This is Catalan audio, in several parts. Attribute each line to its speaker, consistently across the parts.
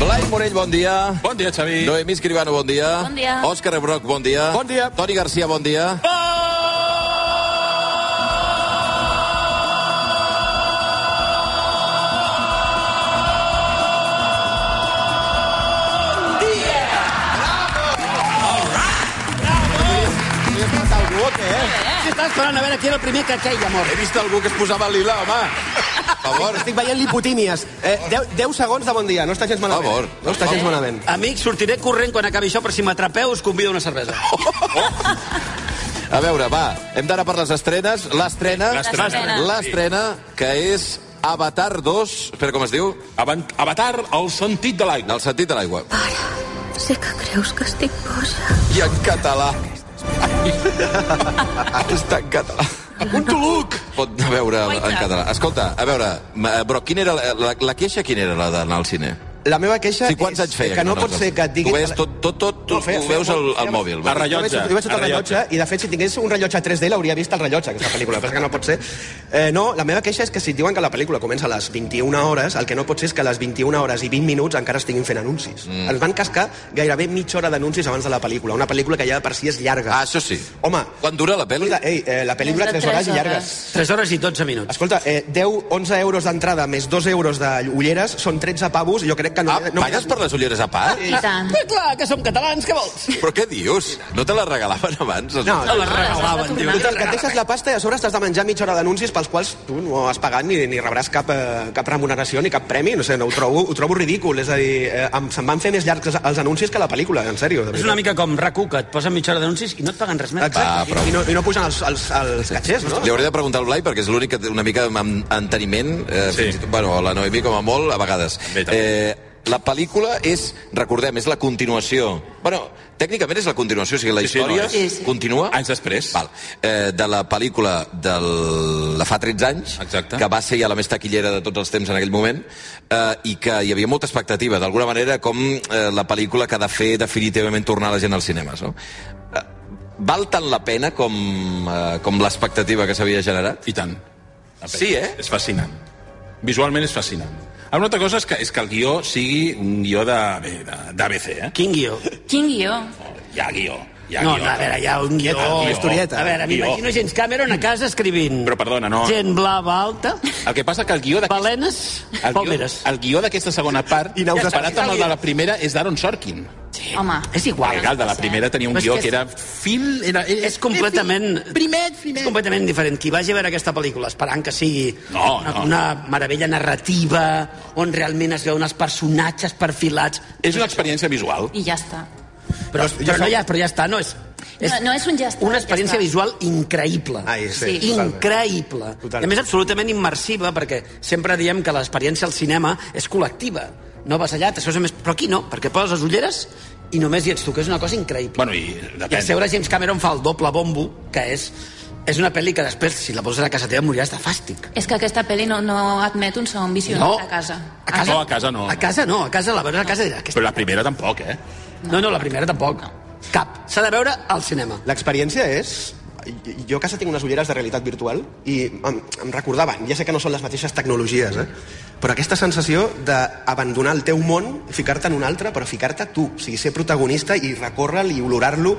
Speaker 1: Blai Morell, bon dia.
Speaker 2: Bon dia, Xavi.
Speaker 1: Noemí Escribano, bon dia.
Speaker 3: Bon dia.
Speaker 1: Òscar Broc, bon dia.
Speaker 2: Bon dia.
Speaker 1: Toni Garcia, bon dia. eh?
Speaker 4: Sí, estava esperant a veure qui era el primer que queia mort.
Speaker 1: He vist algú que es posava lila, home. Per favor.
Speaker 5: Estic veient lipotímies. Eh, 10, 10 segons de bon dia, no està gens
Speaker 1: Per
Speaker 5: malament.
Speaker 1: favor.
Speaker 5: No està gens malament.
Speaker 4: Amic, sortiré corrent quan acabi això, però si m'atrapeu us convido a una cervesa.
Speaker 1: A veure, va, hem d'anar per les estrenes. L'estrena...
Speaker 2: l'estrena.
Speaker 1: L'estrena. L'estrena, que és Avatar 2, espera com es diu,
Speaker 2: Avant- Avatar, el sentit de
Speaker 1: en
Speaker 2: l'aigua.
Speaker 1: el sentit de l'aigua.
Speaker 3: Sé que creus que estic boja.
Speaker 1: I en català. Està en català.
Speaker 2: Un toluc!
Speaker 1: Pot anar a veure en català. Escolta, a veure, ma- eh, Broc, quina era la, la, la queixa quina era la d'anar al cine?
Speaker 5: La meva queixa
Speaker 1: Sí, quants anys feia?
Speaker 5: que no pot
Speaker 1: anaves al
Speaker 5: ser
Speaker 1: cine?
Speaker 5: que et diguin...
Speaker 1: Tu veies tot, tot, tot, tu,
Speaker 5: No, feia-
Speaker 1: ho
Speaker 5: feia
Speaker 1: veus al,
Speaker 5: molt-
Speaker 1: al mòbil.
Speaker 2: La
Speaker 1: va.
Speaker 2: rellotge.
Speaker 5: Jo vaig, jo vaig sota
Speaker 2: El
Speaker 5: el rellotge, i de fet si tingués un rellotge 3D l'hauria vist el rellotge, aquesta pel·lícula, però és que no pot ser. Eh, no, la meva queixa és que si et diuen que la pel·lícula comença a les 21 hores, el que no pot ser és que a les 21 hores i 20 minuts encara estiguin fent anuncis. Mm. Ens van cascar gairebé mitja hora d'anuncis abans de la pel·lícula, una pel·lícula que ja per si és llarga.
Speaker 1: Ah, això sí.
Speaker 5: Home,
Speaker 1: Quan dura la pel·li?
Speaker 5: escolta, ei, eh, la pel·lícula
Speaker 3: Més de
Speaker 5: 3 hores
Speaker 3: tres
Speaker 5: i
Speaker 3: hores.
Speaker 5: llargues.
Speaker 4: 3 hores i 12 minuts.
Speaker 5: Escolta, eh, 10, 11 euros d'entrada més 2 euros de ulleres són 13 pavos, jo crec que no...
Speaker 1: Ah,
Speaker 5: no
Speaker 1: pagues per les ulleres a part?
Speaker 3: I
Speaker 5: Ah.
Speaker 3: tant.
Speaker 4: Eh, clar, que som catalans, què vols?
Speaker 1: Però què dius? No te les regalaven abans?
Speaker 5: No,
Speaker 4: No
Speaker 5: no,
Speaker 4: les regalaven, diu.
Speaker 5: Total, que et deixes la pasta i a sobre t'has de menjar mitja hora d'anuncis pels quals tu no has pagat ni, ni rebràs cap, eh, cap remuneració ni cap premi, no sé, no, ho, trobo, ho trobo ridícul, és a dir, eh, em, se'n van fer més llargs els- els anuncis que la pel·lícula, en sèrio. de
Speaker 4: És una Ah,
Speaker 5: veritat.
Speaker 4: mica com rac que et posen mitja hora d'anuncis i no et paguen res més.
Speaker 1: Va,
Speaker 5: Exacte,
Speaker 1: prou.
Speaker 5: I, i, no, i no pugen els, els, els catxers, no?
Speaker 1: Li hauré de preguntar al Blai, perquè és l'únic que té una mica amb enteniment, eh,
Speaker 2: Sí.
Speaker 1: sí. fins i tot, bueno, la Noemí com a molt, a vegades.
Speaker 2: Bé, també.
Speaker 1: Eh, la pel·lícula és, recordem, és la continuació. Bueno, tècnicament és la continuació, o sigui, la
Speaker 2: Sí, sí, no,
Speaker 1: història
Speaker 2: és-
Speaker 3: Sí, sí.
Speaker 1: continua...
Speaker 2: Anys després.
Speaker 1: Val. Eh, de la pel·lícula del... de fa 13 anys,
Speaker 2: Exacte.
Speaker 1: que va ser ja la més taquillera de tots els temps en aquell moment, eh, i que hi havia molta expectativa, d'alguna manera, com eh, la pel·lícula que ha de fer definitivament tornar la gent als cinemes. No? Eh, val tant la pena com, eh, com l'expectativa que s'havia generat?
Speaker 2: I tant. La pel·li.
Speaker 1: Sí, eh?
Speaker 2: És fascinant. Visualment és fascinant. Ara, una altra cosa és que, és que el guió sigui un guió de- bé, de- d'ABC, eh?
Speaker 4: Quin guió?
Speaker 3: Quin guió?
Speaker 2: Hi ha guió. Hi ha
Speaker 4: No,
Speaker 2: guió.
Speaker 4: no, a veure, hi ha un guió.
Speaker 2: Guió.
Speaker 4: A veure, m'imagino James Cameron a casa escrivint...
Speaker 2: Però perdona, no.
Speaker 4: Gent blava alta,
Speaker 2: El que passa que el guió d'aquesta...
Speaker 4: balenes,
Speaker 2: El guió,
Speaker 4: palmeres.
Speaker 2: el guió d'aquesta segona part,
Speaker 5: I naus
Speaker 2: comparat
Speaker 4: espacials.
Speaker 2: amb el de la primera, és d'Aaron Sorkin.
Speaker 3: Home.
Speaker 4: És igual.
Speaker 2: El de la primera tenia un
Speaker 4: Però és
Speaker 2: guió
Speaker 4: que
Speaker 2: que era fil... Era, era,
Speaker 4: És completament... Primet, primet. És completament diferent. Qui vagi a veure aquesta pel·lícula esperant que sigui
Speaker 2: No,
Speaker 4: una,
Speaker 2: no.
Speaker 4: una meravella narrativa, on realment es veuen els personatges perfilats...
Speaker 2: és una experiència visual.
Speaker 3: I ja està.
Speaker 4: Però, però, no, ja, però ja està, no és... és
Speaker 3: No, no és un ja està,
Speaker 4: Una
Speaker 3: ja
Speaker 4: experiència
Speaker 3: està.
Speaker 4: visual increïble.
Speaker 5: Ai, sí,
Speaker 3: Sí.
Speaker 5: totalment.
Speaker 4: increïble.
Speaker 5: Totalment.
Speaker 4: I a més, absolutament immersiva, perquè sempre diem que l'experiència al cinema és col·lectiva. No vas allà, t'asseus amb... Però aquí no, perquè poses les ulleres i només hi ets tu, que és una cosa increïble.
Speaker 2: Bueno, i
Speaker 4: I a
Speaker 2: depèn.
Speaker 4: seure James Cameron fa el doble bombo, que és... És una pel·li que després, si la poses a casa teva, moriràs de fàstic.
Speaker 3: És que aquesta pel·li no, no admet un segon visionat a casa.
Speaker 4: A casa?
Speaker 2: No, a casa no.
Speaker 4: A casa no, a casa la veus a casa i diràs...
Speaker 2: Però la primera tampoc, eh?
Speaker 4: No, no, la primera tampoc. Cap. S'ha de veure al cinema.
Speaker 5: L'experiència és... Jo a casa tinc unes ulleres de realitat virtual i em, em recordaven, ja sé que no són les mateixes tecnologies, eh? però aquesta sensació d'abandonar el teu món, ficar-te en un altre, però ficar-te tu, o sigui, ser protagonista i recórrer-lo i olorar-lo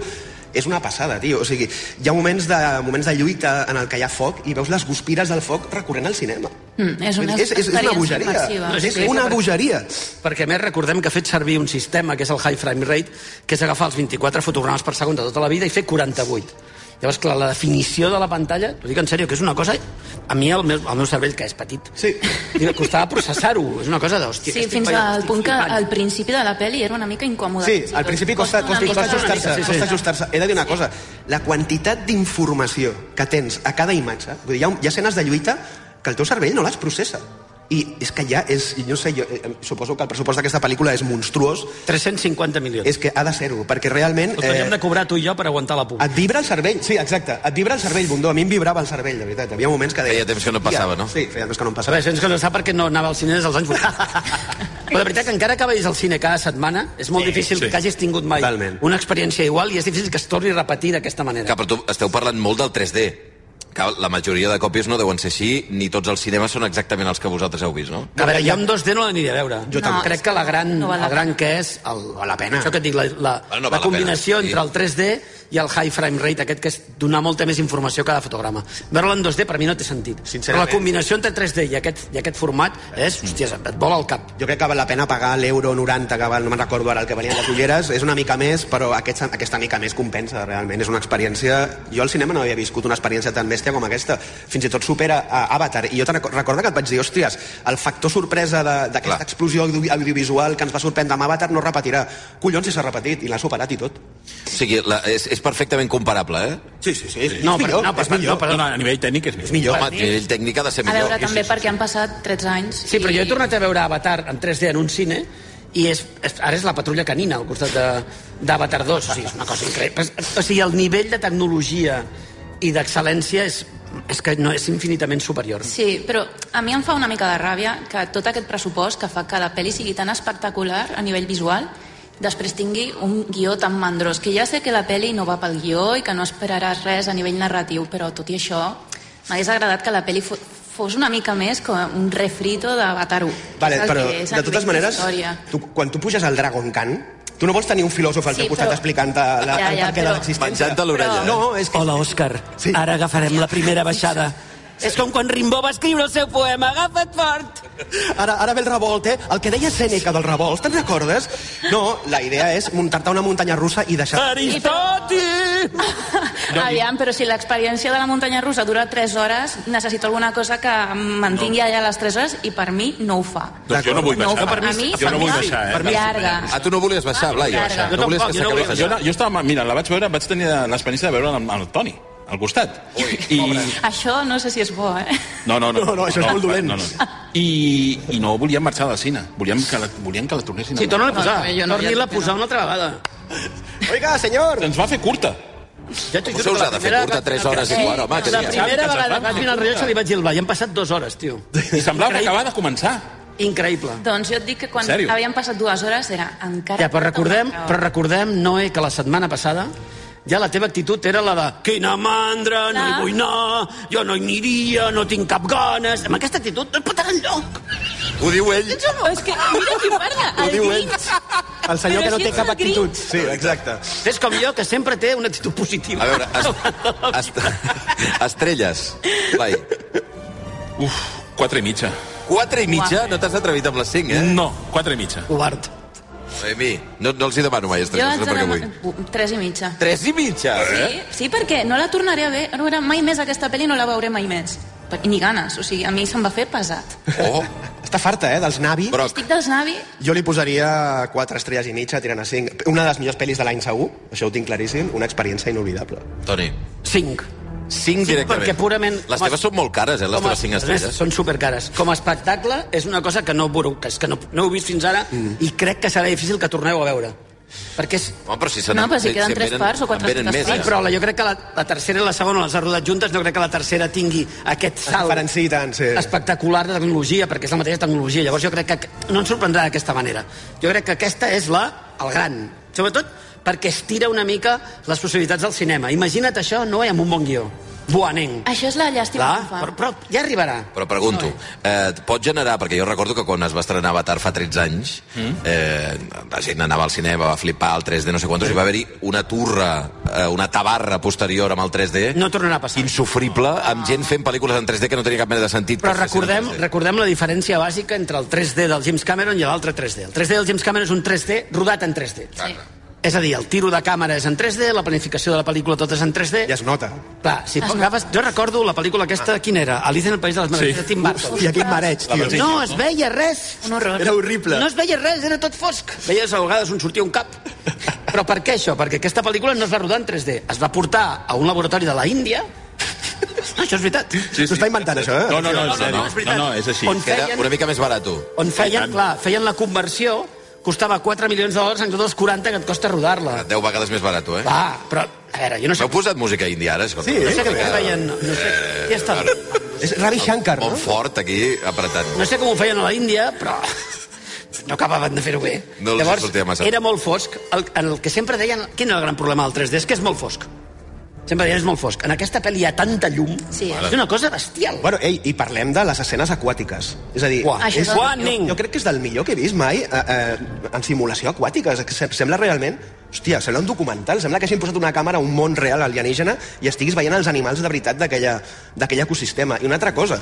Speaker 5: és una passada, tio. O sigui, hi ha moments de, moments de lluita en el que hi ha foc i veus les guspires del foc recorrent al cinema.
Speaker 3: Mm, és una
Speaker 5: és, és, és una
Speaker 3: experiència
Speaker 5: bogeria.
Speaker 3: immersiva.
Speaker 4: No,
Speaker 5: És
Speaker 4: sí,
Speaker 5: una
Speaker 4: sí.
Speaker 5: bogeria.
Speaker 4: Perquè a més recordem que ha fet servir un sistema que és el high frame rate, que és agafar els 24 fotogrames per segon de tota la vida i fer 48. Llavors, clar, la definició de la pantalla, t'ho dic en sèrio, que és una cosa... A mi, el meu, el meu cervell, que és petit,
Speaker 5: Sí.
Speaker 4: diu, costava processar-ho. És una cosa d'hòstia.
Speaker 3: Sí,
Speaker 4: estic
Speaker 3: fins
Speaker 4: ballant,
Speaker 3: al
Speaker 4: estic
Speaker 3: punt que
Speaker 4: flipant.
Speaker 3: al principi de la pel·li era una mica incòmode.
Speaker 5: Sí,
Speaker 3: Fins i
Speaker 5: al
Speaker 3: tot
Speaker 5: principi costa,
Speaker 3: una
Speaker 5: costa,
Speaker 3: mica
Speaker 5: costa
Speaker 3: d'organitzar.
Speaker 5: ajustar-se.
Speaker 4: sí, sí.
Speaker 5: Costa ajustar-se. He de dir una cosa. La quantitat d'informació que tens a cada imatge... Vull dir, hi ha, hi ha escenes de lluita que el teu cervell no les processa. I és que ja és... i No sé, jo, eh, suposo que el pressupost d'aquesta pel·lícula és monstruós.
Speaker 4: 350 milions.
Speaker 5: És que ha de ser-ho, perquè realment...
Speaker 4: Ho
Speaker 5: eh,
Speaker 4: hauríem de cobrar tu i jo per aguantar la pública.
Speaker 5: Et vibra el cervell, sí, exacte. Et vibra el cervell, Bundó. A mi em vibrava el cervell, de veritat. Hi havia moments que deia...
Speaker 1: Feia temps que no passava, no?
Speaker 5: Sí, feia temps que no em
Speaker 4: A
Speaker 5: passava.
Speaker 4: veure, gens que no sap perquè no anava al cine des dels anys 80. Però de veritat que encara que vagis al cine cada setmana, és molt
Speaker 2: Sí,
Speaker 4: sí, difícil
Speaker 2: sí.
Speaker 4: sí. que hagis tingut mai
Speaker 5: Totalment.
Speaker 4: una experiència igual i és difícil que es torni a repetir d'aquesta manera.
Speaker 1: Que, però tu esteu parlant molt del 3D. Que la majoria de còpies no deuen ser així, ni tots els cinemes són exactament els que vosaltres heu vist, no?
Speaker 4: A veure, jo amb 2D no l'aniré a veure.
Speaker 3: Jo tampoc.
Speaker 4: Crec que la gran,
Speaker 3: No val la
Speaker 4: el gran que és... El, val la pena. Això que et dic, la, la,
Speaker 1: Bueno, no
Speaker 4: no
Speaker 1: val
Speaker 4: la
Speaker 1: la
Speaker 4: combinació
Speaker 1: pena, sí.
Speaker 4: entre el 3D i el high frame rate, aquest que és donar molta més informació a cada fotograma. Veure-la en 2D per mi no té sentit. Però
Speaker 5: Sincerament.
Speaker 4: la combinació entre 3D i aquest, i aquest format és, hòstia, et vola el cap.
Speaker 5: Jo crec que val la pena pagar l'euro 90, que val, no me'n recordo ara el que venien les ulleres, és una mica més, però aquest, aquesta mica més compensa, realment. És una experiència... Jo al cinema no havia viscut una experiència tan bèstia com aquesta. Fins i tot supera a Avatar. I jo te'n reco- recordo que et vaig dir, hòsties, el factor sorpresa de-
Speaker 1: Clar.
Speaker 5: d'aquesta explosió audio audiovisual que ens va sorprendre amb Avatar no es repetirà. Collons, si s'ha repetit, i l'ha superat i tot.
Speaker 1: O sigui, la, és, és perfectament comparable, eh?
Speaker 5: Sí, sí, sí.
Speaker 4: No, per, no, per,
Speaker 5: és
Speaker 4: no,
Speaker 5: millor.
Speaker 4: per,
Speaker 2: No, no, a nivell tècnic és millor.
Speaker 5: És millor.
Speaker 1: Home, a nivell tècnic ha de ser
Speaker 3: A
Speaker 1: millor.
Speaker 3: veure, també perquè han passat 13 anys.
Speaker 4: Sí, però
Speaker 3: i-
Speaker 4: jo he tornat a veure Avatar en 3D en un cine i és, és, ara és la patrulla canina al costat de- d'Avatar 2. O sigui, és una cosa increïble. És- O sigui, el nivell de tecnologia i d'excel·lència és, és que no és infinitament superior.
Speaker 3: Sí, però a mi em fa una mica de ràbia que tot aquest pressupost que fa que la pel·li sigui tan espectacular a nivell visual després tingui un guió tan mandrós, que ja sé que la pel·li no va pel guió i que no esperaràs res a nivell narratiu, però tot i això m'hagués agradat que la pel·li fo- fos una mica més com un refrito d'Avatar 1. que
Speaker 5: Vale,
Speaker 3: és el
Speaker 5: però
Speaker 3: que és a
Speaker 5: de totes
Speaker 3: nivell
Speaker 5: maneres,
Speaker 3: d'història.
Speaker 5: tu, quan tu puges al Dragon Khan, tu no vols tenir un filòsof al
Speaker 3: Sí,
Speaker 5: teu costat
Speaker 3: però-
Speaker 5: explicant-te la,
Speaker 3: Ja,
Speaker 5: el
Speaker 3: ja,
Speaker 5: perquè de
Speaker 3: però-
Speaker 5: l'existència.
Speaker 1: Menjant-te l'orella. eh?
Speaker 5: No, és que...
Speaker 4: Hola, Òscar.
Speaker 5: Sí.
Speaker 4: Ara agafarem la primera baixada. És com quan Rimbaud va escriure el seu poema. Agafa't fort!
Speaker 5: Ara, ara ve el revolt, eh? El que deia Sèneca del revolt, te'n recordes? No, la idea és muntar-te una muntanya russa i deixar...
Speaker 4: Aristòtil!
Speaker 3: Aviam, però si l'experiència de la muntanya russa dura 3 hores, necessito alguna cosa que em mantingui allà les 3 hores i per mi no ho fa.
Speaker 2: Doncs jo no vull
Speaker 3: No,
Speaker 2: baixar.
Speaker 3: per mi sí,
Speaker 2: jo no
Speaker 3: per
Speaker 2: vull
Speaker 3: mi sí.
Speaker 2: baixar, eh?
Speaker 3: Per mi sí. Llarga.
Speaker 1: Ah, tu no volies baixar, Blai?
Speaker 3: Llarga.
Speaker 1: baixar.
Speaker 4: Jo
Speaker 1: No volies
Speaker 4: tampoc,
Speaker 1: que
Speaker 4: jo no
Speaker 1: s'acabés
Speaker 4: volia-
Speaker 2: Jo,
Speaker 1: allò.
Speaker 2: no, jo estava... Mira, la vaig veure, vaig tenir l'experiència de veure amb el Toni, al costat. I,
Speaker 3: Això no sé si és bo, eh?
Speaker 2: no, no, no,
Speaker 5: No, no, això és molt dolent.
Speaker 2: No, no. I, I no volíem marxar del cine. Volíem que la, volíem que la tornessin.
Speaker 4: Sí, torna-la a posar.
Speaker 3: No, no, jo no,
Speaker 4: Torni-la a
Speaker 3: jo no.
Speaker 4: posar una altra vegada.
Speaker 5: Oiga, senyor!
Speaker 2: Ens va fer curta.
Speaker 4: Ja t'ho
Speaker 1: Com
Speaker 4: juro
Speaker 1: se us
Speaker 4: que la
Speaker 1: ha de fer
Speaker 4: primera
Speaker 1: curta
Speaker 4: vegada-
Speaker 1: tres hores igual, home, que
Speaker 4: La
Speaker 1: sí.
Speaker 4: primera
Speaker 2: Que se'n van
Speaker 4: vegada que vaig mirar el rellotge li vaig dir al Blai, han passat dues hores, tio.
Speaker 2: I semblava que acabava de començar.
Speaker 4: Increïble.
Speaker 3: Doncs jo et dic que quan
Speaker 2: En sèrio?
Speaker 3: havien passat dues hores era encara... tota
Speaker 4: Ja, però recordem,
Speaker 3: una altra
Speaker 4: però
Speaker 3: hora.
Speaker 4: recordem, Noé, que la setmana passada ja la teva actitud era la de quina mandra, no hi
Speaker 3: Clar.
Speaker 4: vull anar, jo no hi aniria, no tinc cap ganes... Amb aquesta actitud no et pot anar enlloc.
Speaker 1: Ho diu ell.
Speaker 3: No, no, és que mira qui parla, el
Speaker 1: diu ell.
Speaker 3: Grinch.
Speaker 5: El senyor
Speaker 3: Però
Speaker 5: que no
Speaker 3: si
Speaker 5: té
Speaker 3: ets
Speaker 5: cap
Speaker 3: el
Speaker 5: actitud.
Speaker 3: Grinch.
Speaker 5: Sí, exacte.
Speaker 4: És com jo, que sempre té una actitud positiva.
Speaker 1: A veure, est est estrelles, Blai.
Speaker 2: Uf, quatre i mitja.
Speaker 1: Quatre i mitja? No t'has atrevit amb les cinc, eh?
Speaker 3: Mm.
Speaker 2: No, quatre i mitja.
Speaker 4: Covard.
Speaker 1: A mi, no, no els hi demano mai
Speaker 3: Jo
Speaker 1: estrelles, no
Speaker 3: ens
Speaker 1: sé per què vull.
Speaker 3: anava... Tres i mitja.
Speaker 1: Tres i mitja, eh?
Speaker 3: Sí, sí, perquè no la tornaré a veure mai més aquesta pel·li, no la veuré mai més. Per- Ni ganes, o sigui, a mi se'm va fer pesat.
Speaker 1: Oh,
Speaker 5: Està farta, eh, dels Navi.
Speaker 1: Broc.
Speaker 3: Estic dels Navi,
Speaker 5: Jo li posaria 4 estrelles i mitja, tirant a 5. Una de les millors pel·lis de l'any segur, això ho tinc claríssim, una experiència inolvidable.
Speaker 1: Toni,
Speaker 4: Cinc.
Speaker 1: cinc directament.
Speaker 4: perquè purament-
Speaker 1: Les teves són molt cares, eh, les
Speaker 4: Com a-
Speaker 1: teves cinc
Speaker 4: a més,
Speaker 1: estrelles.
Speaker 4: Són supercares. Com a espectacle és una cosa que no, veureu, que, és que no, no heu vist fins ara mm. i crec que serà difícil que torneu a veure. Perquè és...
Speaker 1: Home, però si se
Speaker 3: No,
Speaker 1: n'en-
Speaker 3: però si
Speaker 1: se-
Speaker 3: queden
Speaker 1: se'n
Speaker 3: tres
Speaker 1: venen-
Speaker 3: parts o
Speaker 1: en
Speaker 3: quatre
Speaker 1: venen
Speaker 3: parts.
Speaker 1: més, eh?
Speaker 4: Sí,
Speaker 1: ja.
Speaker 4: però la, jo crec que la, la tercera i la segona les ha rodat juntes, no crec que la tercera tingui aquest
Speaker 5: Es
Speaker 4: salt
Speaker 5: diferencia i tant, sí.
Speaker 4: espectacular de tecnologia, perquè és la mateixa tecnologia. Llavors jo crec que no ens sorprendrà d'aquesta manera. Jo crec que aquesta és la, el gran. Sobretot perquè estira una mica les possibilitats del cinema. Imagina't això, no amb un bon guió. Buaneng.
Speaker 3: això és la llàstima
Speaker 4: Clar,
Speaker 3: que em fa.
Speaker 4: però, però ja arribarà.
Speaker 1: Però pregunto, eh, et pot generar, perquè jo recordo que quan es va estrenar Avatar fa 13 anys,
Speaker 4: Mm.
Speaker 1: eh, la gent anava al cinema, va flipar el 3D, no sé quantos, i va haver-hi una turra, eh, una tabarra posterior amb el 3D,
Speaker 4: No tornarà a passar.
Speaker 1: insufrible, amb gent fent pel·lícules en 3D que no tenia cap mena de sentit.
Speaker 4: Però
Speaker 1: per ser cinema
Speaker 4: recordem,
Speaker 1: 3D.
Speaker 4: recordem la diferència bàsica entre el 3D del James Cameron i l'altre 3D. El 3D del James Cameron és un 3D rodat en 3D.
Speaker 3: Sí.
Speaker 4: És a dir, el tiro de càmera és en 3D, la planificació de la pel·lícula tot és en 3D.
Speaker 5: Ja es nota.
Speaker 4: Clar, si agafes... Jo recordo la pel·lícula aquesta, quina era? Alice en el País de les Meravelles,
Speaker 2: Sí.
Speaker 4: de Tim Burton.
Speaker 5: I aquest mareig, tio.
Speaker 2: Vertigen,
Speaker 4: No es veia res.
Speaker 3: Un horror.
Speaker 5: Era horrible.
Speaker 4: No es veia res, era tot fosc. Veies a vegades on sortia un cap. Però per què això? Perquè aquesta pel·lícula no es va rodar en 3D. Es va portar a un laboratori de la Índia. No, això és veritat.
Speaker 2: Sí,
Speaker 5: S'ho està inventant, això, eh?
Speaker 2: No, no, no, en sèrio.
Speaker 4: no, és veritat.
Speaker 2: No, no, és així.
Speaker 4: On
Speaker 1: Que era
Speaker 4: feien-
Speaker 1: una mica més barat.
Speaker 4: On feien, clar, feien la conversió, costava 4 milions de dòlars en tot els 40 que et costa rodar-la.
Speaker 1: 10 vegades més barat, eh?
Speaker 4: Va, però, a veure, jo no sé,
Speaker 1: M'heu posat música índia ara? Escolta,
Speaker 5: Sí,
Speaker 4: no sé què feien... No sé,
Speaker 1: eh,
Speaker 4: ja està.
Speaker 5: És Ravi Shankar,
Speaker 1: Molt
Speaker 5: no?
Speaker 1: fort, aquí, apretant.
Speaker 4: No sé com ho feien a la Índia, però no acabaven de fer-ho bé.
Speaker 1: No els
Speaker 4: Llavors,
Speaker 1: sortia massa.
Speaker 4: era molt fosc. El, en el que sempre deien... Quin era el gran problema del 3D? És que és molt fosc. Sempre deien és molt fosc. En aquesta pel·li hi ha tanta llum.
Speaker 3: Sí.
Speaker 4: És una cosa bestial.
Speaker 5: Bueno, ei, i parlem de les escenes aquàtiques. És a dir,
Speaker 4: Uah.
Speaker 3: Això
Speaker 5: és,
Speaker 3: és el
Speaker 4: Warning!
Speaker 5: jo crec que és del millor que he vist mai eh, eh, en simulació aquàtica. És que se- Sembla realment... Hòstia, sembla un documental. Sembla que hagin posat una càmera a un món real alienígena i estiguis veient els animals de veritat d'aquella- d'aquell ecosistema. I una altra cosa,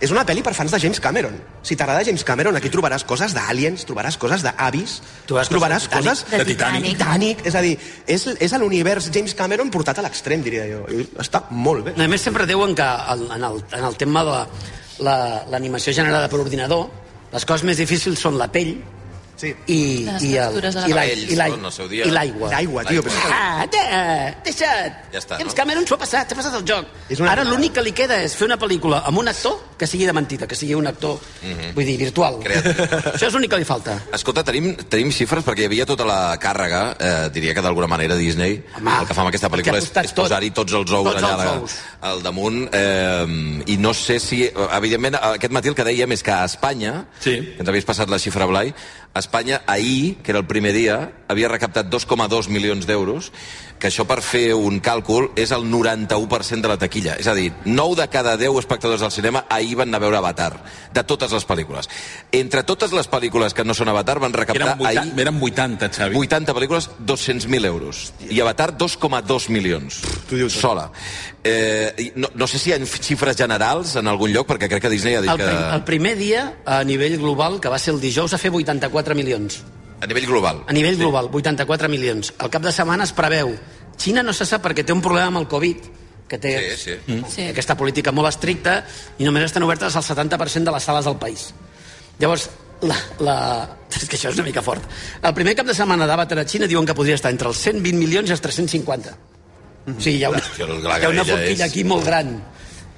Speaker 5: és una pel·li per fans de James Cameron. Si t'agrada James Cameron, aquí trobaràs coses d'aliens, trobaràs coses d'avis,
Speaker 4: Trobaràs
Speaker 5: trobaràs
Speaker 4: coses de
Speaker 5: coses...
Speaker 3: De Titanic.
Speaker 5: Titanic. És a dir, és, és l'univers James Cameron portat a l'extrem, diria jo. I està molt bé.
Speaker 4: A més, sempre diuen que el, en, el, en el tema de la- la- l'animació la, generada per ordinador, les coses més difícils són la pell
Speaker 5: Sí.
Speaker 4: i,
Speaker 3: Les
Speaker 4: i, el,
Speaker 3: textures de la
Speaker 4: i, la,
Speaker 1: pell.
Speaker 4: i, la,
Speaker 1: Ells, no? El seu dia.
Speaker 4: i l'aigua.
Speaker 5: L'aigua, tio. Però... és que-
Speaker 4: Ah, de, deixa't.
Speaker 1: Ja està,
Speaker 4: James
Speaker 1: no?
Speaker 4: Cameron s'ho ha passat, s'ha passat el joc.
Speaker 5: És una
Speaker 4: Ara
Speaker 5: tonada.
Speaker 4: l'únic que li queda és fer una pel·lícula amb un actor que sigui de mentida, que sigui un actor, vull dir, virtual.
Speaker 1: Mhm. Creatiu.
Speaker 4: Això és l'únic que li falta.
Speaker 1: Escolta, tenim, tenim xifres perquè hi havia tota la càrrega, eh, diria que d'alguna manera Disney,
Speaker 4: Home,
Speaker 1: el que fa amb aquesta
Speaker 4: perquè ha
Speaker 1: pel·lícula és,
Speaker 4: costat
Speaker 1: és
Speaker 4: tot.
Speaker 1: posar-hi tots els ous
Speaker 4: Tots
Speaker 1: allà
Speaker 4: els
Speaker 1: la-
Speaker 4: ous.
Speaker 1: al damunt. Eh, I no sé si... Evidentment, aquest matí el que dèiem és que a Espanya,
Speaker 2: Sí.
Speaker 1: que ens havies passat la xifra, Blai, a Espanya ahir, que era el primer dia, havia recaptat 2,2 milions d'euros, que això per fer un càlcul és el 91% de la taquilla. És a dir, 9 de cada 10 espectadors del cinema ahir van anar a veure Avatar, de totes les pel·lícules. Entre totes les pel·lícules que no són Avatar van recaptar
Speaker 2: Eren 80,
Speaker 1: ahir
Speaker 2: eren 80, Xavi.
Speaker 1: 80 pel·lícules, 200.000 euros. I Avatar, 2,2 milions. Sola. Eh, i no, no sé si hi ha xifres generals en algun lloc, perquè crec que Disney ha dit
Speaker 4: El,
Speaker 1: que...
Speaker 4: prim, el primer dia, a nivell global, que va ser el dijous, a fer 84 milions.
Speaker 1: A nivell global.
Speaker 4: A nivell global, 84 milions. Al cap de setmana es preveu. Xina no se sap perquè té un problema amb el Covid, que té
Speaker 1: Sí, sí.
Speaker 3: Sí.
Speaker 4: sí. aquesta política molt estricta i només estan obertes al 70% de les sales del país. Llavors, la, la... és que això és una mica fort. El primer cap de setmana d'Avatar a Xina diuen que podria estar entre els 120 milions i els 350.
Speaker 1: Mm-hmm.
Speaker 4: O sigui, hi ha una,
Speaker 1: Hòstia, la
Speaker 4: hi ha una
Speaker 1: graella
Speaker 4: forquilla
Speaker 1: és-
Speaker 4: aquí molt gran.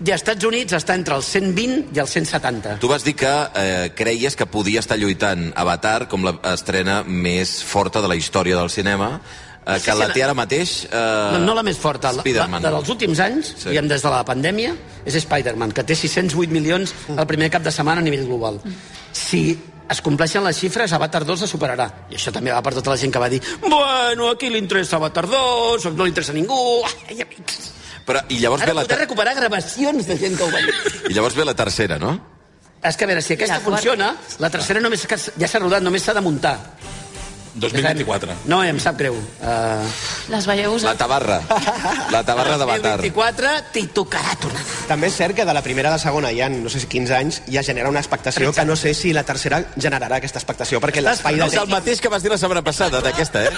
Speaker 4: I als Estats Units està entre els 120 i els 170.
Speaker 1: Tu vas dir que eh, creies que podia estar lluitant Avatar com l'estrena més forta de la història del cinema, eh,
Speaker 4: Sí,
Speaker 1: que
Speaker 4: sí,
Speaker 1: la
Speaker 4: la-
Speaker 1: té ara mateix... Eh,
Speaker 4: No, no la més forta, la, la,
Speaker 1: Spider-Man.
Speaker 4: de dels últims anys,
Speaker 1: Sí.
Speaker 4: sí. diguem, des de la pandèmia, és Spider-Man, que té 608 milions el primer cap de setmana a nivell global. Si es compleixen les xifres, Avatar 2 la superarà. I això també va per tota la gent que va dir bueno, aquí li interessa Avatar 2, no li interessa a ningú... Ai, amics.
Speaker 1: Però, I llavors ve
Speaker 4: Ara
Speaker 1: Doncs la...
Speaker 4: podré
Speaker 1: ter-
Speaker 4: recuperar gravacions de gent que ho va dir.
Speaker 1: I llavors ve la tercera, no?
Speaker 4: És que a veure, si aquesta
Speaker 3: La quarta.
Speaker 4: funciona, la tercera només que s- ja s'ha rodat, només s'ha de muntar.
Speaker 2: 2024.
Speaker 4: No, em sap greu. Uh,
Speaker 3: Les veieu
Speaker 1: La
Speaker 3: usar?
Speaker 1: tabarra. La tabarra d'Avatar.
Speaker 4: 2024 t'hi tocarà tornar.
Speaker 5: També és cert que de la primera a la segona hi ha, no sé si 15 anys, ja genera una expectació que no sé si la tercera generarà aquesta expectació, perquè l'espai de...
Speaker 1: És el mateix que vas dir la setmana passada, d'aquesta, eh?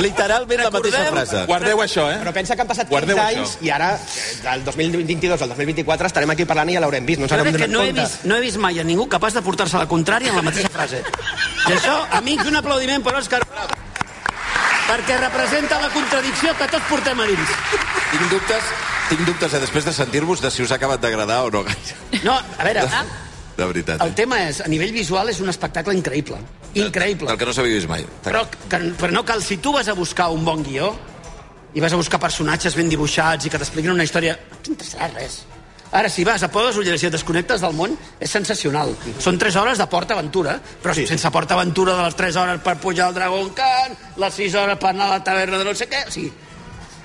Speaker 1: Literalment la mateixa
Speaker 2: Guardeu-
Speaker 1: frase.
Speaker 2: Guardeu això, eh?
Speaker 5: Però pensa que han passat 15
Speaker 2: Guardeu això.
Speaker 5: anys i ara, eh, del 2022 al 2024, estarem aquí parlant i ja l'haurem vist, no ens
Speaker 4: Jo
Speaker 5: n'hem
Speaker 4: crec que
Speaker 5: donat
Speaker 4: no he,
Speaker 5: compte.
Speaker 4: vist, no he vist mai a ningú capaç de portar-se la contrària en la mateixa frase. I això, amics, un aplaudiment per Òscar Bravo. Perquè representa la contradicció que tots portem a dins.
Speaker 1: Tinc dubtes, tinc dubtes eh, després de sentir-vos de si us ha acabat d'agradar o no gaire.
Speaker 4: No, a veure,
Speaker 1: De veritat. eh?
Speaker 4: el tema és, a nivell visual, és un espectacle increïble. Increïble.
Speaker 1: El que no s'havia vist mai.
Speaker 4: Però, que, però no cal, si tu vas a buscar un bon guió i vas a buscar personatges ben dibuixats i que t'expliquin una història, no t'interessarà res. Ara, si vas a Podes Ulleres i et desconnectes del món, és sensacional. Són 3 hores de PortAventura, però sí. sense PortAventura de les 3 hores per pujar al Dragon Khan, les 6 hores per anar a la taverna de no sé què, o sigui...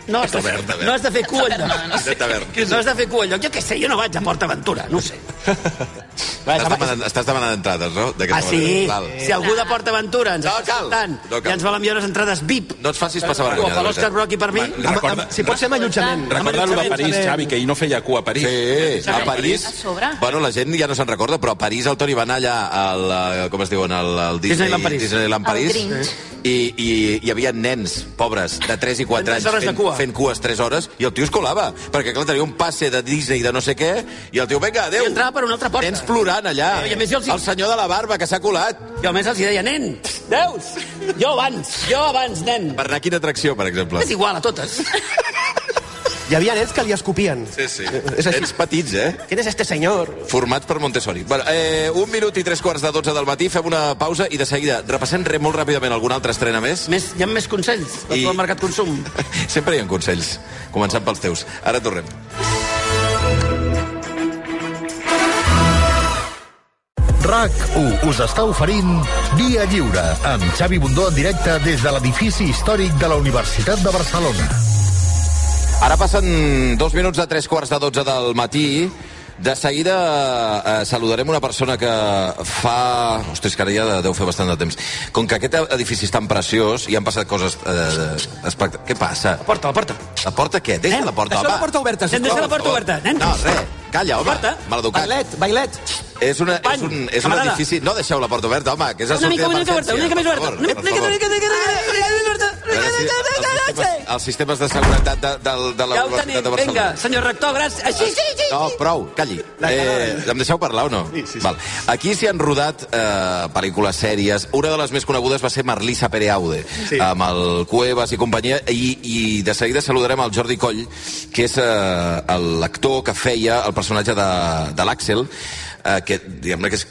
Speaker 4: No has, de fer,
Speaker 1: Taverna, taverna.
Speaker 4: no has de fer cua enlloc. No,
Speaker 1: De taverna.
Speaker 4: no has de fer cua enlloc. Jo què sé, jo no vaig a PortAventura, no ho sé.
Speaker 1: Estàs demanant, estàs demanant entrades, no? D'aquesta
Speaker 4: Ah, sí?
Speaker 1: manera. Val.
Speaker 4: Si algú de PortAventura ens
Speaker 1: No
Speaker 4: està
Speaker 1: cal.
Speaker 4: escoltant
Speaker 1: No cal.
Speaker 4: i ens vol enviar unes entrades VIP
Speaker 1: No et facis passar
Speaker 4: o
Speaker 1: vergonya.
Speaker 4: per
Speaker 1: de
Speaker 4: l'Òscar
Speaker 1: veritat.
Speaker 4: Broc i per mi,
Speaker 2: Va,
Speaker 5: Amb, amb, si pot ser amb allotjament.
Speaker 2: Recordar lo de París, Xavi, que ell no feia cua a París.
Speaker 1: Sí, a París...
Speaker 3: A sobre.
Speaker 1: Bueno, la gent ja no se'n recorda, però a París el Toni va anar allà al... eh, Com es diuen? Al, al Disney,
Speaker 4: Disneyland París.
Speaker 1: Disneyland París.
Speaker 3: Al Grinch.
Speaker 1: i, i hi havia nens pobres de 3 i 4
Speaker 4: Fent
Speaker 1: anys
Speaker 4: tres hores de
Speaker 1: fent,
Speaker 4: cua.
Speaker 1: fent cues 3 hores i el tio es colava, perquè clar, tenia un passe de Disney de no sé què, i el tio, vinga, adéu.
Speaker 4: I entrava per una altra porta.
Speaker 1: Nens plorant allà.
Speaker 4: I a més jo els-
Speaker 1: El senyor de la barba que s'ha colat.
Speaker 4: Jo a més els hi deia, nen, veus? Jo abans, jo abans, nen.
Speaker 1: Per anar a quina atracció, per exemple?
Speaker 4: És igual a totes.
Speaker 5: Hi havia nens que li escopien.
Speaker 1: Sí, sí.
Speaker 5: És així.
Speaker 1: Nens petits, eh?
Speaker 5: ¿Quién es este señor?
Speaker 1: Formats per Montessori. Bueno, eh, un minut i tres quarts de 12 del matí, fem una pausa i de seguida repassem re, molt ràpidament alguna altra estrena més.
Speaker 4: Més, hi ha més consells del
Speaker 1: I-
Speaker 4: I... mercat consum.
Speaker 1: Sempre hi ha consells, començant pels teus. Ara tornem.
Speaker 6: RAC1 us està oferint Via Lliure, amb Xavi Bundó en directe des de l'edifici històric de la Universitat de Barcelona.
Speaker 1: Ara passen dos minuts de tres quarts de 12 del matí. De seguida eh, saludarem una persona que fa... Ostres, que ara ja deu fer bastant de temps. Com que aquest edifici és tan preciós i han passat coses... Eh, espect... Què passa?
Speaker 4: Porta, la porta.
Speaker 1: La porta què? Deixa
Speaker 4: Nen,
Speaker 1: la porta,
Speaker 4: deixa
Speaker 1: home.
Speaker 4: la porta oberta, sisplau. Deixa la porta oberta, nen.
Speaker 1: No, res. Calla, home.
Speaker 4: porta.
Speaker 1: Maleducat.
Speaker 5: Bailet, bailet.
Speaker 1: És, una, és,
Speaker 4: Pany,
Speaker 1: un, és un
Speaker 4: camarada.
Speaker 1: edifici... No deixeu la porta oberta, home, que és la
Speaker 4: Una mica,
Speaker 1: sortida
Speaker 4: una mica oberta,
Speaker 1: d'emergència.
Speaker 4: una mica més
Speaker 1: Per
Speaker 4: oberta.
Speaker 1: favor,
Speaker 4: Una mica,
Speaker 1: per
Speaker 4: una mica,
Speaker 1: favor.
Speaker 4: una mica, una mica,
Speaker 1: A veure si els sistemes- Els sistemes de seguretat de, de, de la
Speaker 4: Ja ho
Speaker 1: Universitat
Speaker 4: tenim.
Speaker 1: de Barcelona.
Speaker 4: Vinga, senyor rector, gràcies. Així, sí, sí.
Speaker 1: No, prou, calli. Eh, em deixeu parlar o no?
Speaker 5: Sí, sí, sí.
Speaker 1: Val. Aquí s'hi han rodat eh, pel·lícules sèries. Una de les més conegudes va ser Marlisa Pereaude, sí.
Speaker 5: Sí.
Speaker 1: amb el Cuevas i companyia, i, i de seguida saludarem el Jordi Coll, que és eh, l'actor que feia el personatge de, de l'Àxel, eh, que diguem-ne que és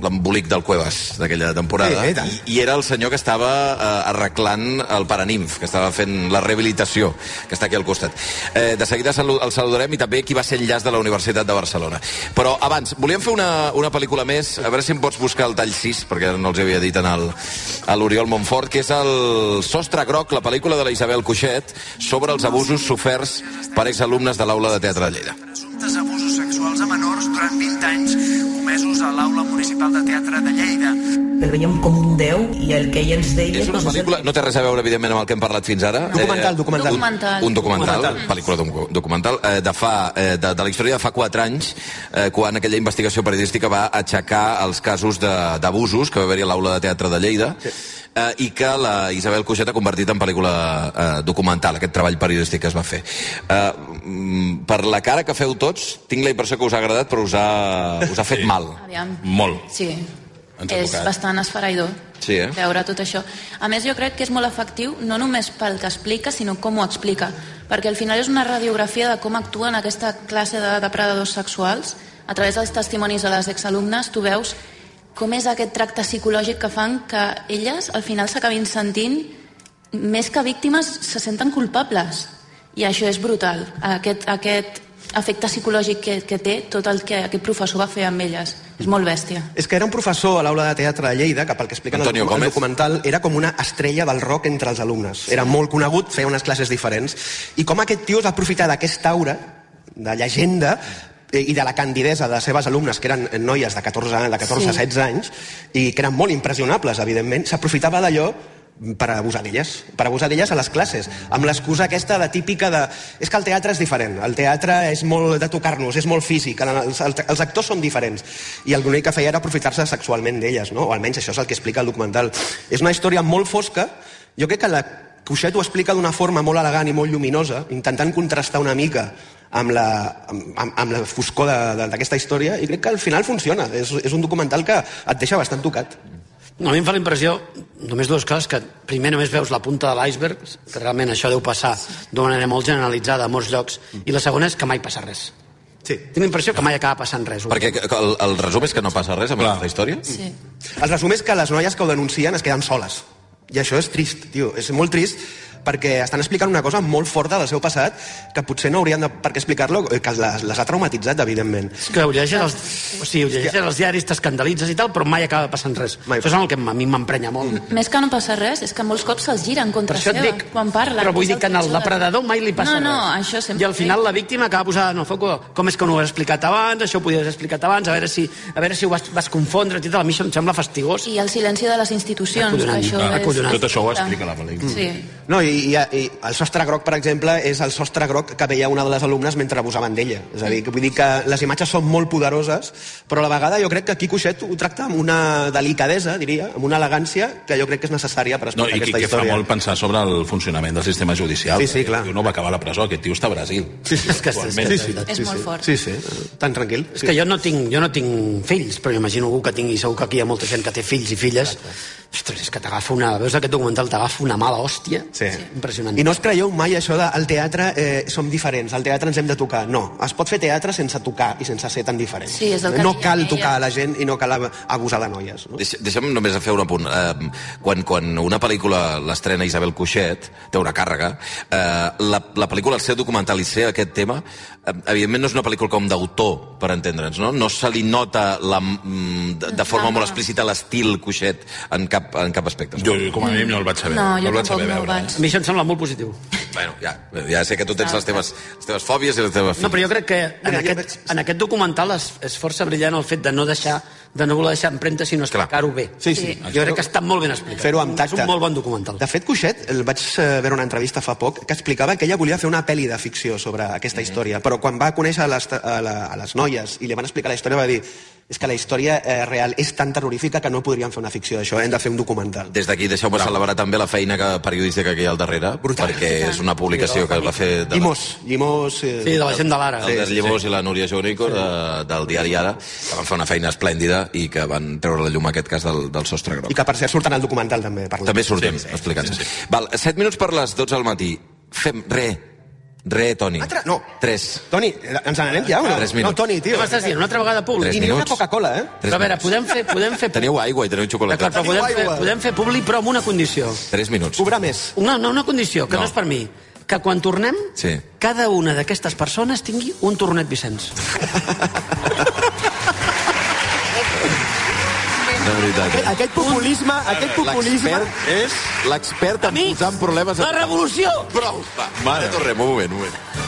Speaker 1: l'embolic del Cuevas d'aquella temporada.
Speaker 5: Sí, i tant.
Speaker 1: I, I era el senyor que estava eh, arreglant el Paranimf, que estava fent la rehabilitació, que està aquí al costat. Eh, de seguida salu el saludarem i també qui va ser enllaç de la Universitat de Barcelona. Però abans, volíem fer una, una pel·lícula més, a veure si em pots buscar el tall 6, perquè ara no els havia dit en el, a l'Oriol Montfort, que és el Sostre Groc, la pel·lícula de la Isabel Cuixet, sobre els abusos soferts per exalumnes de l'aula de teatre de Lleida.
Speaker 7: presumptes abusos sexuals a menors durant 20 anys comesos a l'Aula Municipal de Teatre de Lleida.
Speaker 8: el veiem com un déu i el que ell ens deia...
Speaker 1: És una
Speaker 8: doncs, el
Speaker 1: pel·lícula,
Speaker 8: que-
Speaker 1: no té res a veure, evidentment, amb el que hem parlat fins ara. Eh,
Speaker 5: Documental, documental.
Speaker 3: Documental.
Speaker 1: Un, un documental,
Speaker 4: Documental.
Speaker 1: pel·lícula docu- documental, eh, de, fa, eh, de, de la història de fa 4 anys, eh, quan aquella investigació periodística va aixecar els casos de- d'abusos que va haver-hi a l'aula de teatre de Lleida, eh, i que la Isabel Cuixet ha convertit en pel·lícula eh, documental, aquest treball periodístic que es va fer. Eh, mm, per la cara que feu tots, tinc la impressió que us ha agradat, però us ha, us ha fet mal.
Speaker 3: Aviam.
Speaker 2: Molt.
Speaker 3: Sí.
Speaker 2: Ens ha
Speaker 3: És
Speaker 2: tocat.
Speaker 3: bastant esfereïdor
Speaker 1: Sí, eh?
Speaker 3: veure tot això. A més, jo crec que és molt efectiu, no només pel que explica, sinó com ho explica. Perquè al final és una radiografia de com actuen aquesta classe de depredadors sexuals. A través dels testimonis de les exalumnes, tu veus com és aquest tracte psicològic que fan que elles al final s'acabin sentint més que víctimes se senten culpables i això és brutal aquest, aquest efecte psicològic que, que té tot el que aquest professor va fer amb elles és molt bèstia
Speaker 5: És que era un professor a l'aula de teatre de Lleida, que pel que expliquen
Speaker 1: Antonio
Speaker 5: el, docu- el
Speaker 1: Gómez.
Speaker 5: documental era com una estrella del rock entre els alumnes. Era molt conegut, feia unes classes diferents. I com aquest tio es va aprofitar d'aquesta aura de llegenda eh, i de la candidesa de les seves alumnes, que eren noies de 14 anys, de 14 a
Speaker 3: Sí.
Speaker 5: 16 anys, i que eren molt impressionables, evidentment, s'aprofitava d'allò per abusar d'elles, per abusar d'elles a les classes, amb l'excusa aquesta de típica de... És que el teatre és diferent, el teatre és molt de tocar-nos, és molt físic, el- els, els, els actors són diferents, i el que feia era aprofitar-se sexualment d'elles, no? o almenys això és el que explica el documental. És una història molt fosca, jo crec que la Cuixet ho explica d'una forma molt elegant i molt lluminosa, intentant contrastar una mica amb la, amb, amb, amb la foscor de- de- d'aquesta història, i crec que al final funciona. És, és un documental que et deixa bastant tocat.
Speaker 4: No, a mi em fa la impressió, només dues coses, que primer només veus la punta de l'iceberg, que realment això deu passar d'una manera molt generalitzada a molts llocs, i la segona és que mai passa res.
Speaker 5: Sí.
Speaker 4: Tinc la impressió que mai acaba passant res.
Speaker 1: Perquè el, el resum és que no passa res amb
Speaker 2: Clar.
Speaker 1: aquesta història?
Speaker 3: sí.
Speaker 5: El resum és que les noies que ho denuncien es queden soles. I això és trist, tio. És molt trist perquè estan explicant una cosa molt forta del seu passat que potser no haurien de, per què explicar-lo, eh, que les, les ha traumatitzat, evidentment.
Speaker 4: És que ho llegeixes, als, o sigui, ho llegeixes als diaris, t'escandalitzes i tal, però mai acaba passant res.
Speaker 5: Mai. Mm.
Speaker 4: Això és el que a mi m'emprenya molt.
Speaker 3: més que no passa res és que molts cops se'ls gira en
Speaker 4: Per
Speaker 3: contra
Speaker 4: això et
Speaker 3: seva
Speaker 4: dic,
Speaker 3: quan parlen
Speaker 4: però vull
Speaker 3: és
Speaker 4: dir
Speaker 3: el
Speaker 4: que en el
Speaker 3: pitjor de-
Speaker 4: depredador mai li passa
Speaker 3: no, no,
Speaker 4: res.
Speaker 3: això sempre
Speaker 4: I al final la víctima acaba posada en el foc com és que no ho has explicat abans, això ho podies haver explicat abans, a veure si, a veure si ho vas, vas confondre, i tal. a mi això em sembla fastigós.
Speaker 3: i el silenci de les institucions
Speaker 4: Acollonant.
Speaker 3: això
Speaker 2: Ah,
Speaker 3: és...
Speaker 2: acollonant. Tot això ho explica la pel·lícula.
Speaker 3: sí.
Speaker 5: No, i, dir, hi ha, i el sostre groc, per exemple, és el sostre groc que veia una de les alumnes mentre abusaven d'ella. És a dir, que vull dir que les imatges són molt poderoses, però a la vegada jo crec que Quico Xet ho tracta amb una delicadesa, diria, amb una elegància que jo crec que és necessària per
Speaker 2: No,
Speaker 5: explicar
Speaker 2: i que,
Speaker 5: aquesta
Speaker 2: que fa
Speaker 5: història.
Speaker 2: molt eh? pensar sobre el funcionament del sistema judicial.
Speaker 5: Sí, sí, clar.
Speaker 2: Diu, no va acabar a la presó, aquest tio està a Brasil.
Speaker 5: Sí, sí, és que, és,
Speaker 2: Actualment.
Speaker 5: que, sí, sí,
Speaker 3: És
Speaker 5: sí,
Speaker 3: molt
Speaker 5: sí.
Speaker 3: fort.
Speaker 5: Sí, sí, tan tranquil.
Speaker 4: És que jo no tinc, jo no tinc fills, però imagino algú que tingui, segur que aquí hi ha molta gent que té fills i filles. Ostres, és que t'agafa una... Veus aquest documental, t'agafa una mala hòstia.
Speaker 5: Sí.
Speaker 4: Impressionant.
Speaker 5: I no us creieu mai això de al teatre eh, som diferents, al teatre ens hem de tocar. No, es pot fer teatre sense tocar i sense ser tan diferents.
Speaker 3: Sí, és el que
Speaker 5: no
Speaker 3: deia
Speaker 5: cal
Speaker 3: ella.
Speaker 5: tocar a la gent i no cal abusar de noies. No?
Speaker 1: Deixa, deixa'm només fer un apunt. Eh, quan, quan una pel·lícula l'estrena Isabel Coixet, té una càrrega, eh, la, la pel·lícula, el seu documental i ser aquest tema, eh, evidentment no és una pel·lícula com d'autor, per entendre'ns, no? No se li nota la, mm, de, de forma
Speaker 3: No.
Speaker 1: molt explícita l'estil Coixet en cap, en cap aspecte.
Speaker 2: Jo, jo, com a mínim, no el vaig saber.
Speaker 3: No, jo
Speaker 2: el vaig
Speaker 3: tampoc
Speaker 2: saber
Speaker 3: no ho
Speaker 2: veure. eh?
Speaker 3: vaig.
Speaker 4: A mi això em sembla molt positiu.
Speaker 1: Bueno, ja, ja sé que tu tens les teves, les teves fòbies i les teves...
Speaker 4: No, però jo crec que en,
Speaker 5: Mira, jo
Speaker 4: aquest,
Speaker 5: veig-
Speaker 4: en aquest documental és, és força brillant el fet de no deixar de no voler deixar empremtes, sinó explicar-ho bé.
Speaker 5: Sí, sí.
Speaker 4: Jo crec que està molt ben explicat.
Speaker 5: Fer-ho amb
Speaker 4: És
Speaker 5: tacte.
Speaker 4: un molt bon documental.
Speaker 5: De fet, Cuixet, el vaig eh, veure una entrevista fa poc que explicava que ella volia fer una pel·li de ficció sobre
Speaker 4: Mm.
Speaker 5: aquesta història, però quan va conèixer les, a, la, a les noies i li van explicar la història va dir és que la història eh, real és tan terrorífica que no podríem fer una ficció d'això, hem de fer un documental.
Speaker 1: Des d'aquí deixeu-me celebrar també la feina que, periodística que hi ha al darrere,
Speaker 5: Brutal.
Speaker 1: perquè és una publicació que es va fer... De la,
Speaker 5: Llimós, Llimós... Eh,
Speaker 4: Sí, de la gent de l'ara.
Speaker 1: el Des Llavors i la Núria Jonico de, del diari Ara, que van fer una feina esplèndida i que van treure la llum aquest cas del, del sostre groc.
Speaker 5: I que, per cert, surten al documental també. Per
Speaker 1: També sortim sí, explicant-se. Sí, Val, 7 minuts per les 12 del matí. Fem re. Re, Toni.
Speaker 5: Altra- no.
Speaker 1: 3.
Speaker 5: Toni, eh, ens n'anem ja o no?
Speaker 1: Tres minuts.
Speaker 5: No, Toni, tio.
Speaker 4: Què m'estàs dient? Una altra vegada públic?
Speaker 1: Tres
Speaker 5: I ni una
Speaker 1: minuts.
Speaker 5: Coca-Cola, eh?
Speaker 1: Tres
Speaker 4: Però a veure,
Speaker 1: minuts.
Speaker 4: podem fer... Podem fer
Speaker 1: Teniu aigua i teniu xocolata.
Speaker 4: D'acord, però
Speaker 5: Teniu
Speaker 4: podem fer,
Speaker 5: aigua.
Speaker 4: podem fer públic, però amb una condició.
Speaker 1: 3 minuts.
Speaker 5: Cobrar més.
Speaker 4: Una, no, una condició, que no,
Speaker 1: No.
Speaker 4: és per mi. Que quan tornem,
Speaker 1: Sí.
Speaker 4: cada una d'aquestes persones tingui un tornet Vicenç.
Speaker 1: De veritat. eh?
Speaker 5: Aquest populisme, aquest populisme...
Speaker 1: L'expert és l'expert en
Speaker 4: Amics,
Speaker 1: posar en problemes...
Speaker 4: la revolució!
Speaker 1: Prou! Va, Mare. tornem, un moment, un moment.